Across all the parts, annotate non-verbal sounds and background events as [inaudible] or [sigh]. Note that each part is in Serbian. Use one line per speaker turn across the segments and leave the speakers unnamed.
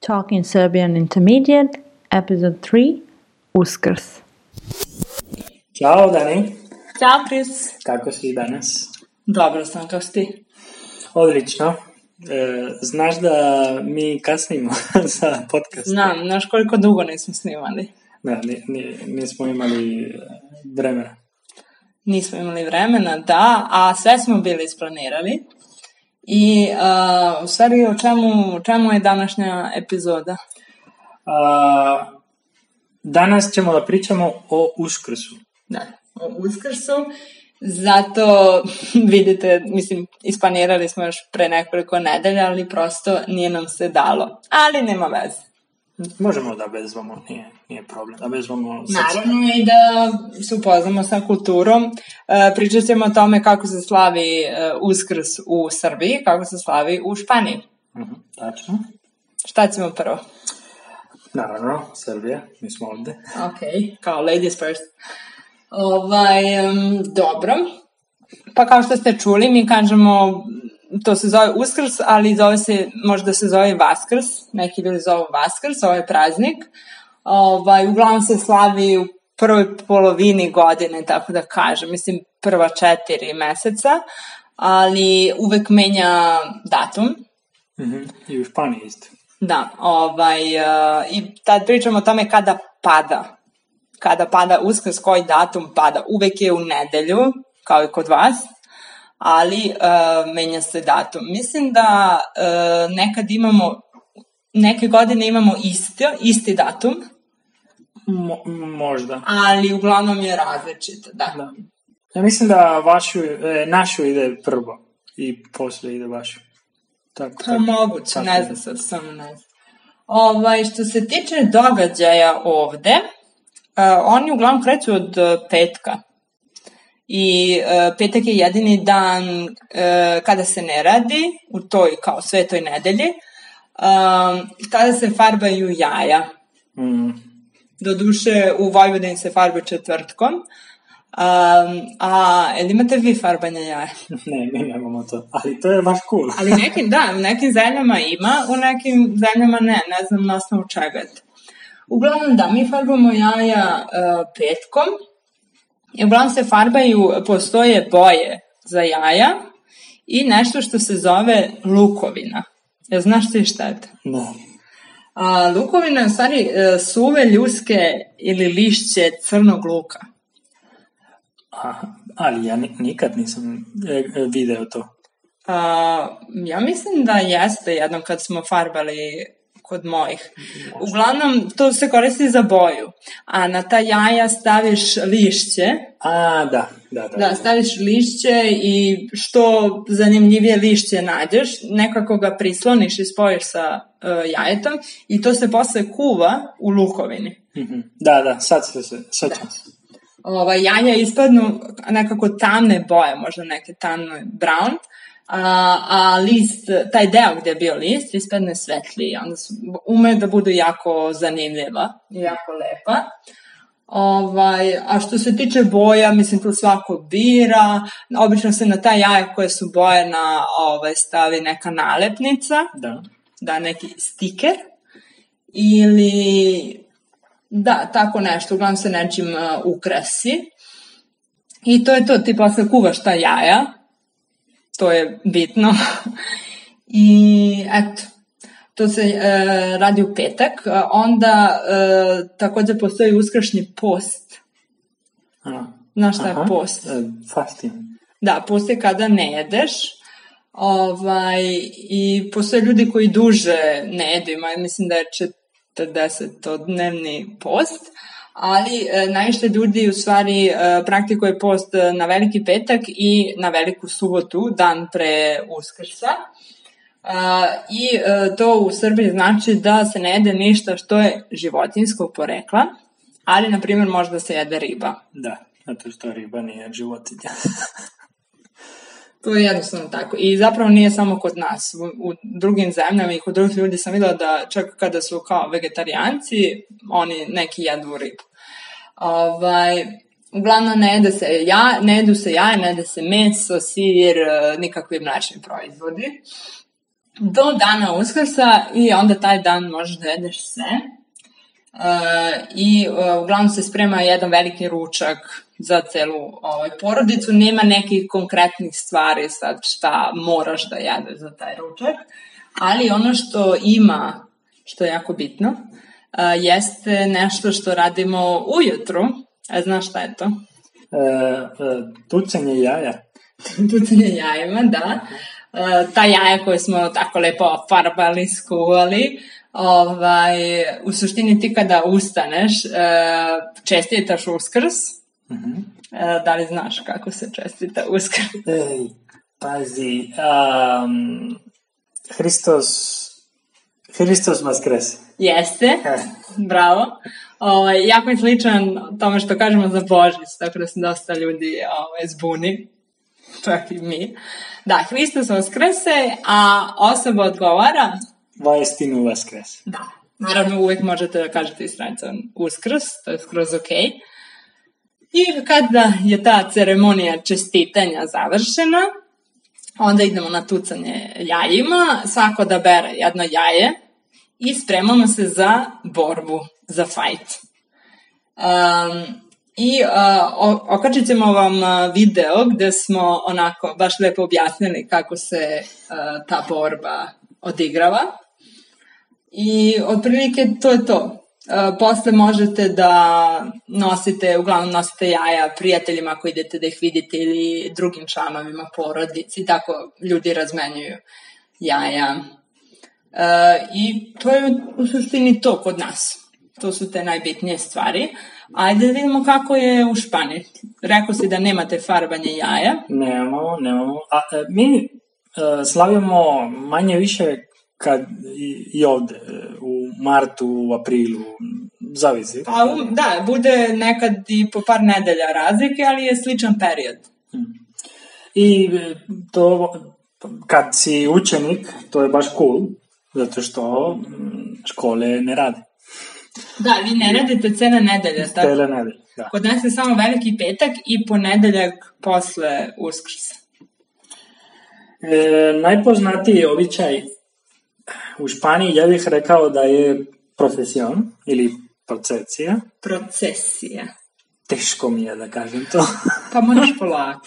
Talking Serbian Intermediate, Episode 3, Uskrs.
Ćao, Dani.
Ćao, Kris.
Kako si danas?
Dobro sam, kao si ti?
Odlično. E, znaš da mi kasnimo [laughs] sa podcastom.
Znam, znaš koliko dugo nismo snimali.
Da, ni, ni, nismo imali e, vremena.
Nismo imali vremena, da, a sve smo bili isplanirali. I uh, u stvari o čemu, o čemu je današnja epizoda?
A, danas ćemo da pričamo o uskrsu.
Da, o Uskrsu. Zato [laughs] vidite, mislim, isplanirali smo još pre nekoliko nedelja, ali prosto nije nam se dalo. Ali nema veze.
Možemo da bezvamo, nije, nije problem. Da bezvamo
Naravno i da se upoznamo sa kulturom. E, pričat ćemo o tome kako se slavi e, Uskrs u Srbiji, kako se slavi u Španiji.
Mhm, tačno.
Šta ćemo prvo?
Naravno, Srbija, mi smo ovde.
Ok, kao ladies first. Ovaj, em, dobro. Pa kao što ste čuli, mi kažemo, to se zove Uskrs, ali zove se, možda se zove Vaskrs, neki ljudi zovu Vaskrs, ovaj praznik. Ovaj, uglavnom se slavi u prvoj polovini godine, tako da kažem, mislim prva četiri meseca, ali uvek menja datum,
Mhm. I u Španiji isto.
Da, ovaj, uh, i tad pričamo o tome kada pada. Kada pada uskrs, koji datum pada. Uvek je u nedelju, kao i kod vas, ali uh, menja se datum. Mislim da uh, nekad imamo, neke godine imamo isti, isti datum,
Mo, možda.
ali uglavnom je različit, da.
Da. Ja mislim da vašu, e, našu ide prvo i posle ide vašu. Tako,
Pa moguće,
tako
ne znam sad, samo ne znam. Ovaj, što se tiče događaja ovde, uh, oni uglavnom kreću od uh, petka. I uh, petak je jedini dan uh, kada se ne radi, u toj kao svetoj nedelji, um, kada se farbaju jaja.
Mm.
Doduše, u Vojvodini se farbaju četvrtkom. Um, a, jel imate vi farbanje jaja?
Ne, mi nemamo to, ali to je baš cool.
Ali nekim, da, u nekim zemljama ima, u nekim zemljama ne, ne znam na osnovu čega je to. Uglavnom da, mi farbamo jaja uh, petkom, i uglavnom se farbaju, postoje boje za jaja i nešto što se zove lukovina. Ja znaš ti šta je to?
Ne.
A, lukovina je u stvari e, suve ljuske ili lišće crnog luka.
Aha, ali ja ni, nikad nisam e, e, video to.
A, ja mislim da jeste jednom kad smo farbali kod mojih. Uglavnom, to se koristi za boju. A na ta jaja staviš lišće.
A, da, da, da.
Da, staviš lišće i što zanimljivije lišće nađeš, nekako ga prisloniš i spojiš sa uh, jajetom i to se posle kuva u lukovini.
Mhm. da, da, sad se se, sad da.
Ova, jaja Ovaj, ispadnu nekako tamne boje, možda neke tamno brown, a, a list, taj deo gde je bio list, ispadne svetliji, onda su, ume da budu jako zanimljiva i jako lepa. Ovaj, a što se tiče boja, mislim tu svako bira, obično se na ta jaja koje su bojena ovaj, stavi neka nalepnica,
Da.
da neki stiker ili da, tako nešto, uglavnom se nečim uh, ukrasi. I to je to, ti posle kuvaš ta jaja, to je bitno. [laughs] I eto, to se e, radi u petak, A onda e, takođe postoji uskrašnji post.
A,
Znaš šta
aha.
je post?
E, fasting.
Da, post je kada ne jedeš. Ovaj, I postoje ljudi koji duže ne jedu, ima, mislim da je 40-dnevni post, ali e, najviše ljudi u stvari e, praktikuje post e, na veliki petak i na veliku subotu, dan pre uskrsa. E, I e, to u Srbiji znači da se ne jede ništa što je životinskog porekla, ali, na primjer, može da se jede riba.
Da, zato što riba nije životinja. [laughs]
To je jednostavno tako. I zapravo nije samo kod nas. U, u drugim zemljama i kod drugih ljudi sam videla da čak kada su kao vegetarijanci, oni neki jedu ribu. Ovaj, uglavnom ne jede se ja, ne jedu se jaje, ne jede se meso, sir, e, nikakvi mlečni proizvodi. do dana Uskrsa i onda taj dan možeš da jedeš sve. E, I e, uglavnom se sprema jedan veliki ručak za celu ovaj, porodicu. Nema nekih konkretnih stvari sad šta moraš da jedeš za taj ručak. Ali ono što ima, što je jako bitno, e, jeste nešto što radimo ujutru. A znaš šta je to?
E, e, tucanje jaja.
tucanje jajima, da. E, ta jaja koje smo tako lepo farbali, skuvali, ovaj, u suštini ti kada ustaneš, e, čestitaš uskrs.
Mhm.
E, da li znaš kako se čestita uskrs? [laughs]
Ej, pazi, um, Hristos, Hristos Maskrese.
Jeste, bravo. Ovaj, jako je sličan tome što kažemo za Božić, tako da se dosta ljudi ovaj, zbuni, čak i mi. Da, Hristos vaskrese, a osoba odgovara
Vajestinu Vaskrese.
Da. Naravno, uvek možete da kažete i stranicom uskrs, to je skroz ok. I kada je ta ceremonija čestitanja završena, onda idemo na tucanje jajima, svako da bere jedno jaje i spremamo se za borbu, za fajt. Um, I uh, o- okačit ćemo vam a, video gde smo onako baš lepo objasnili kako se a, ta borba odigrava. I otprilike to je to. E, posle možete da nosite, uglavnom nosite jaja prijateljima ako idete da ih vidite ili drugim članovima porodici, tako ljudi razmenjuju jaja. E, I to je u suštini to kod nas. To su te najbitnije stvari. Ajde da vidimo kako je u Španiji. Rekao si da nemate farbanje jaja.
Nemamo, nemamo. A, e, mi e, slavimo manje više kad i, i ovde, e, u martu, u aprilu, zavisi.
Pa, um, da, bude nekad i po par nedelja razlike, ali je sličan period.
I e, to, kad si učenik, to je baš cool, zato što mm, škole ne rade.
Da, vi ne radite cele nedelje, tako?
Tele nedelje, da.
Kod nas je samo veliki petak i ponedeljak posle uskrsa.
E, najpoznatiji običaj u Španiji, ja bih rekao da je profesion ili procesija.
Procesija.
Teško mi je da kažem to. [laughs]
Pa [laughs] moraš polako.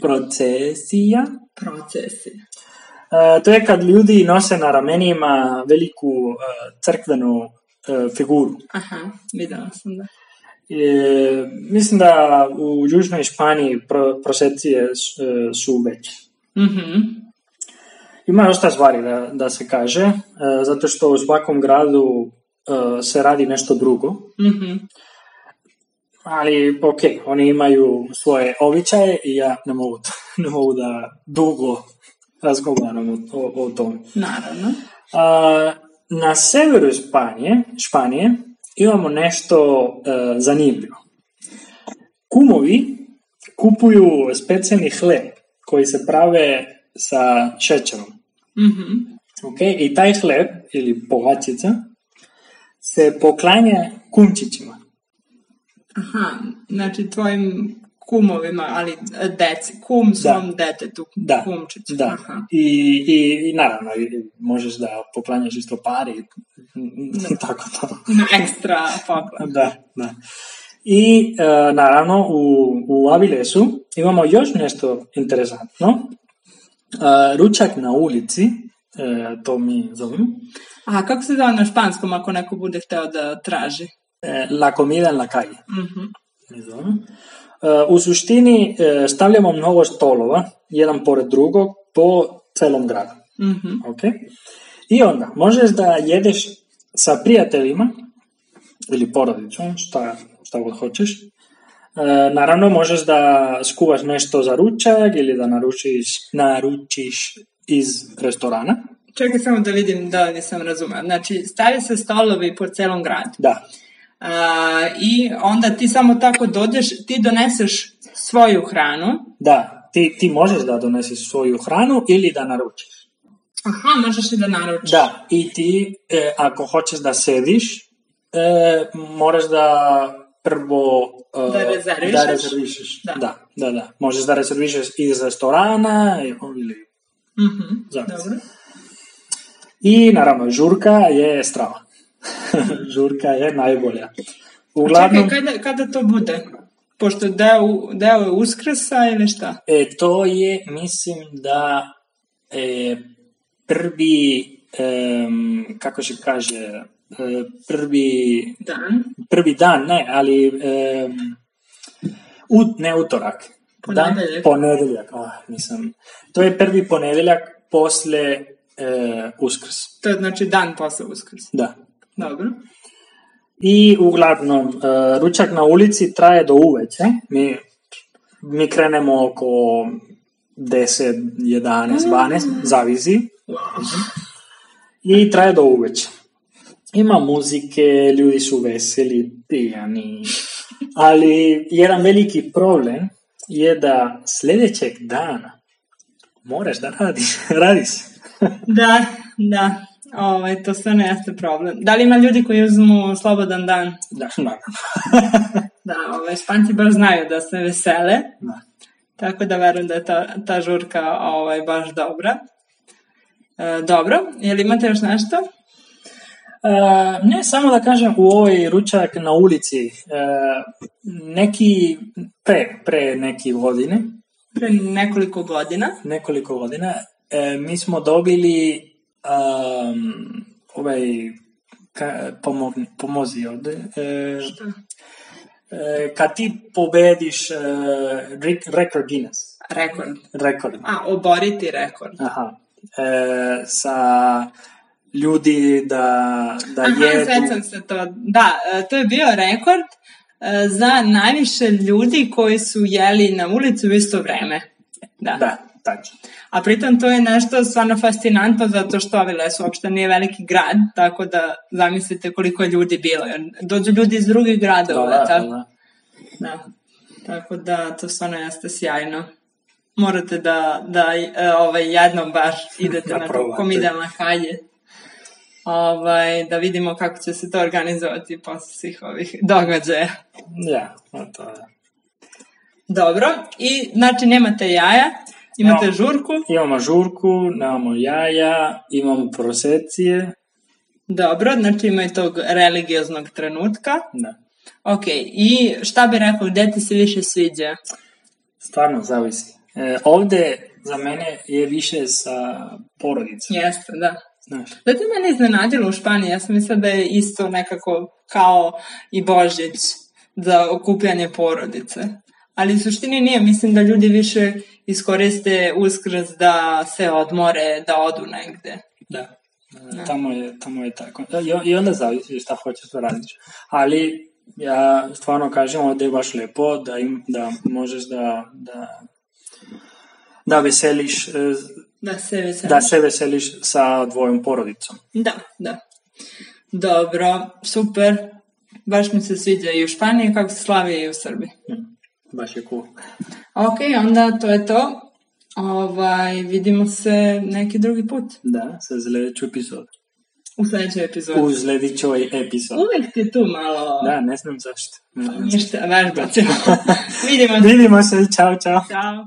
procesija.
Procesija.
E, to je kad ljudi nose na ramenima veliku e, crkvenu e, figuru.
Aha, videla sam da.
E, mislim da u južnoj Španiji pro, prosecije su, e, su veće.
Mhm.
Ima dosta stvari da, da se kaže, e, zato što u svakom gradu e, se radi nešto drugo.
Mhm.
Ali, ok, oni imaju svoje običaje i ja ne mogu, to- [laughs] ne mogu da dugo razgovaram o, o, o tome.
Naravno.
A, na severu Španije, Španije imamo nešto e, zanimljivo. Kumovi kupuju specijalni hleb koji se prave sa šećerom.
Mhm.
Ok, i taj hleb ili povačica se poklanja kumčićima.
Aha, znači tvojim kumovima, ali e, deci, kum svom detetu,
Da,
kumčiću.
da.
Aha.
I, i, I naravno, i- i možeš da poklanjaš isto pare i i [laughs] tako to.
Ekstra poklon.
Da, da. I e, naravno u, u Avilesu imamo još nešto interesantno. E, ručak na ulici, e, to mi zovemo,
A kako se zove na španskom ako neko bude hteo da traži?
e, la comida en la calle.
Mhm.
mi zovemo. E, u suštini e, stavljamo mnogo stolova, jedan pored drugog, po celom gradu.
Mhm.
Ok. I onda, možeš da jedeš sa prijateljima ili porodicom, šta, šta god hoćeš. E, naravno, možeš da skuvaš nešto za ručak ili da naručiš, naručiš iz restorana.
Čekaj samo da vidim da li nisam razumela. Znači, stave se stolovi po celom gradu.
Da,
A, I onda ti samo tako dođeš, ti doneseš svoju hranu.
da, ti, ti možeš da doneseš svoju hranu ili da naručiš.
Aha, možeš i da naručiš.
Da, i ti e, ako hoćeš da sediš, e, moraš da prvo e,
Da rezervišeš?
Da rezervišeš.
Da.
Da. da, da, da. Možeš da rezervišeš iz restorana e, ili
Mhm,
Zavisi.
dobro.
I naravno, žurka je strava. [laughs] žurka je najbolja. Uglavnom,
Čekaj, kada, kada to bude? Pošto deo, deo je uskrsa ili šta?
e, to je, mislim da e, prvi, em, kako se kaže, e, prvi
Dan.
prvi dan, ne, ali em, ut, ne utorak. Dan-
Ponedeljak.
ponedeljak, ah, nisam. To je prvi ponedeljak posle e, uskrs,
To je znači dan posle uskrsa.
da.
Dobro.
I uglavnom, e, ručak na ulici traje do uveče. Mi, mi krenemo oko 10, 11, 12, zavisi. I traje do uveče. Ima muzike, ljudi su veseli, pijani. Ali jedan veliki problem je da sljedećeg dana moraš da radiš. [laughs] radiš.
Da, da. Ovaj, to stvarno jeste problem. Da li ima ljudi koji uzmu slobodan dan?
Da, naravno.
Da, ovaj, Španci baš znaju da se vesele,
Da.
tako da verujem da je ta, ta žurka ovaj, baš dobra. E, dobro, je li imate još nešto?
E, ne samo da kažem u ovoj ručak na ulici e, neki pre, pre neki godine
Pre nekoliko godina.
nekoliko godina e, mi smo dobili um, ovaj ka, pomogni, pomozi ovdje e, e, kad ti pobediš e, rek- rekord Guinness
Rekord.
rekord
A, oboriti rekord.
aha e, sa ljudi da, da
Aha,
jedu
sećam se to. Da, e, to je bio rekord e, za najviše ljudi koji su jeli na ulicu u isto vreme. Da.
da, tačno
A pritom to je nešto stvarno fascinantno zato što Aviles uopšte nije veliki grad, tako da zamislite koliko je ljudi bilo. jer Dođu ljudi iz drugih gradova.
Da, da,
tako,
da.
da. tako da to stvarno jeste sjajno. Morate da, da e, ovaj, jednom bar idete
[laughs] Da
na to
probate.
komidel na halje. Ovaj, da vidimo kako će se to organizovati posle svih ovih događaja.
Ja, Da, to je.
Dobro, i znači nemate jaja, imate
No.
žurku,
Imamo žurku, nemamo jaja, imamo prosecije.
dobro, znači ima i tog religioznog trenutka.
Da.
Ok, i šta bi rekao, gde ti se više sviđa?
Stvarno zavisi. E, ovdje za mene je više sa porodicom.
Jeste, da.
Znaš.
Zato je mene iznenadilo u Španiji, ja sam mislila da je isto nekako kao i Božić za okupljanje porodice. Ali u suštini nije, mislim da ljudi više iskoriste uskrs da se odmore, da odu negde.
Da. E, Tamo je, tamo je tako. E, I, I onda zavisi šta hoćeš da radiš. Ali ja stvarno kažem ovdje je baš lepo da, im, da možeš da, da, da veseliš, e,
Da se veseliš.
da se veseliš sa tvojom porodicom.
Da, da. Dobro, super. Baš mi se sviđa i u Španiji kako se slavi i u Srbiji.
Baš je cool.
Ok, onda to je to. Ovaj, vidimo se neki drugi put
Da, sa sljedeću epizodu.
u sljedećoj epizodi.
u sljedećoj epizodi.
Uvijek ti tu malo
Da, ne znam zašto. Ne znam.
ništa vežba ćemo. vidimo se.
Vidimo se, čao, čao.
Ćao.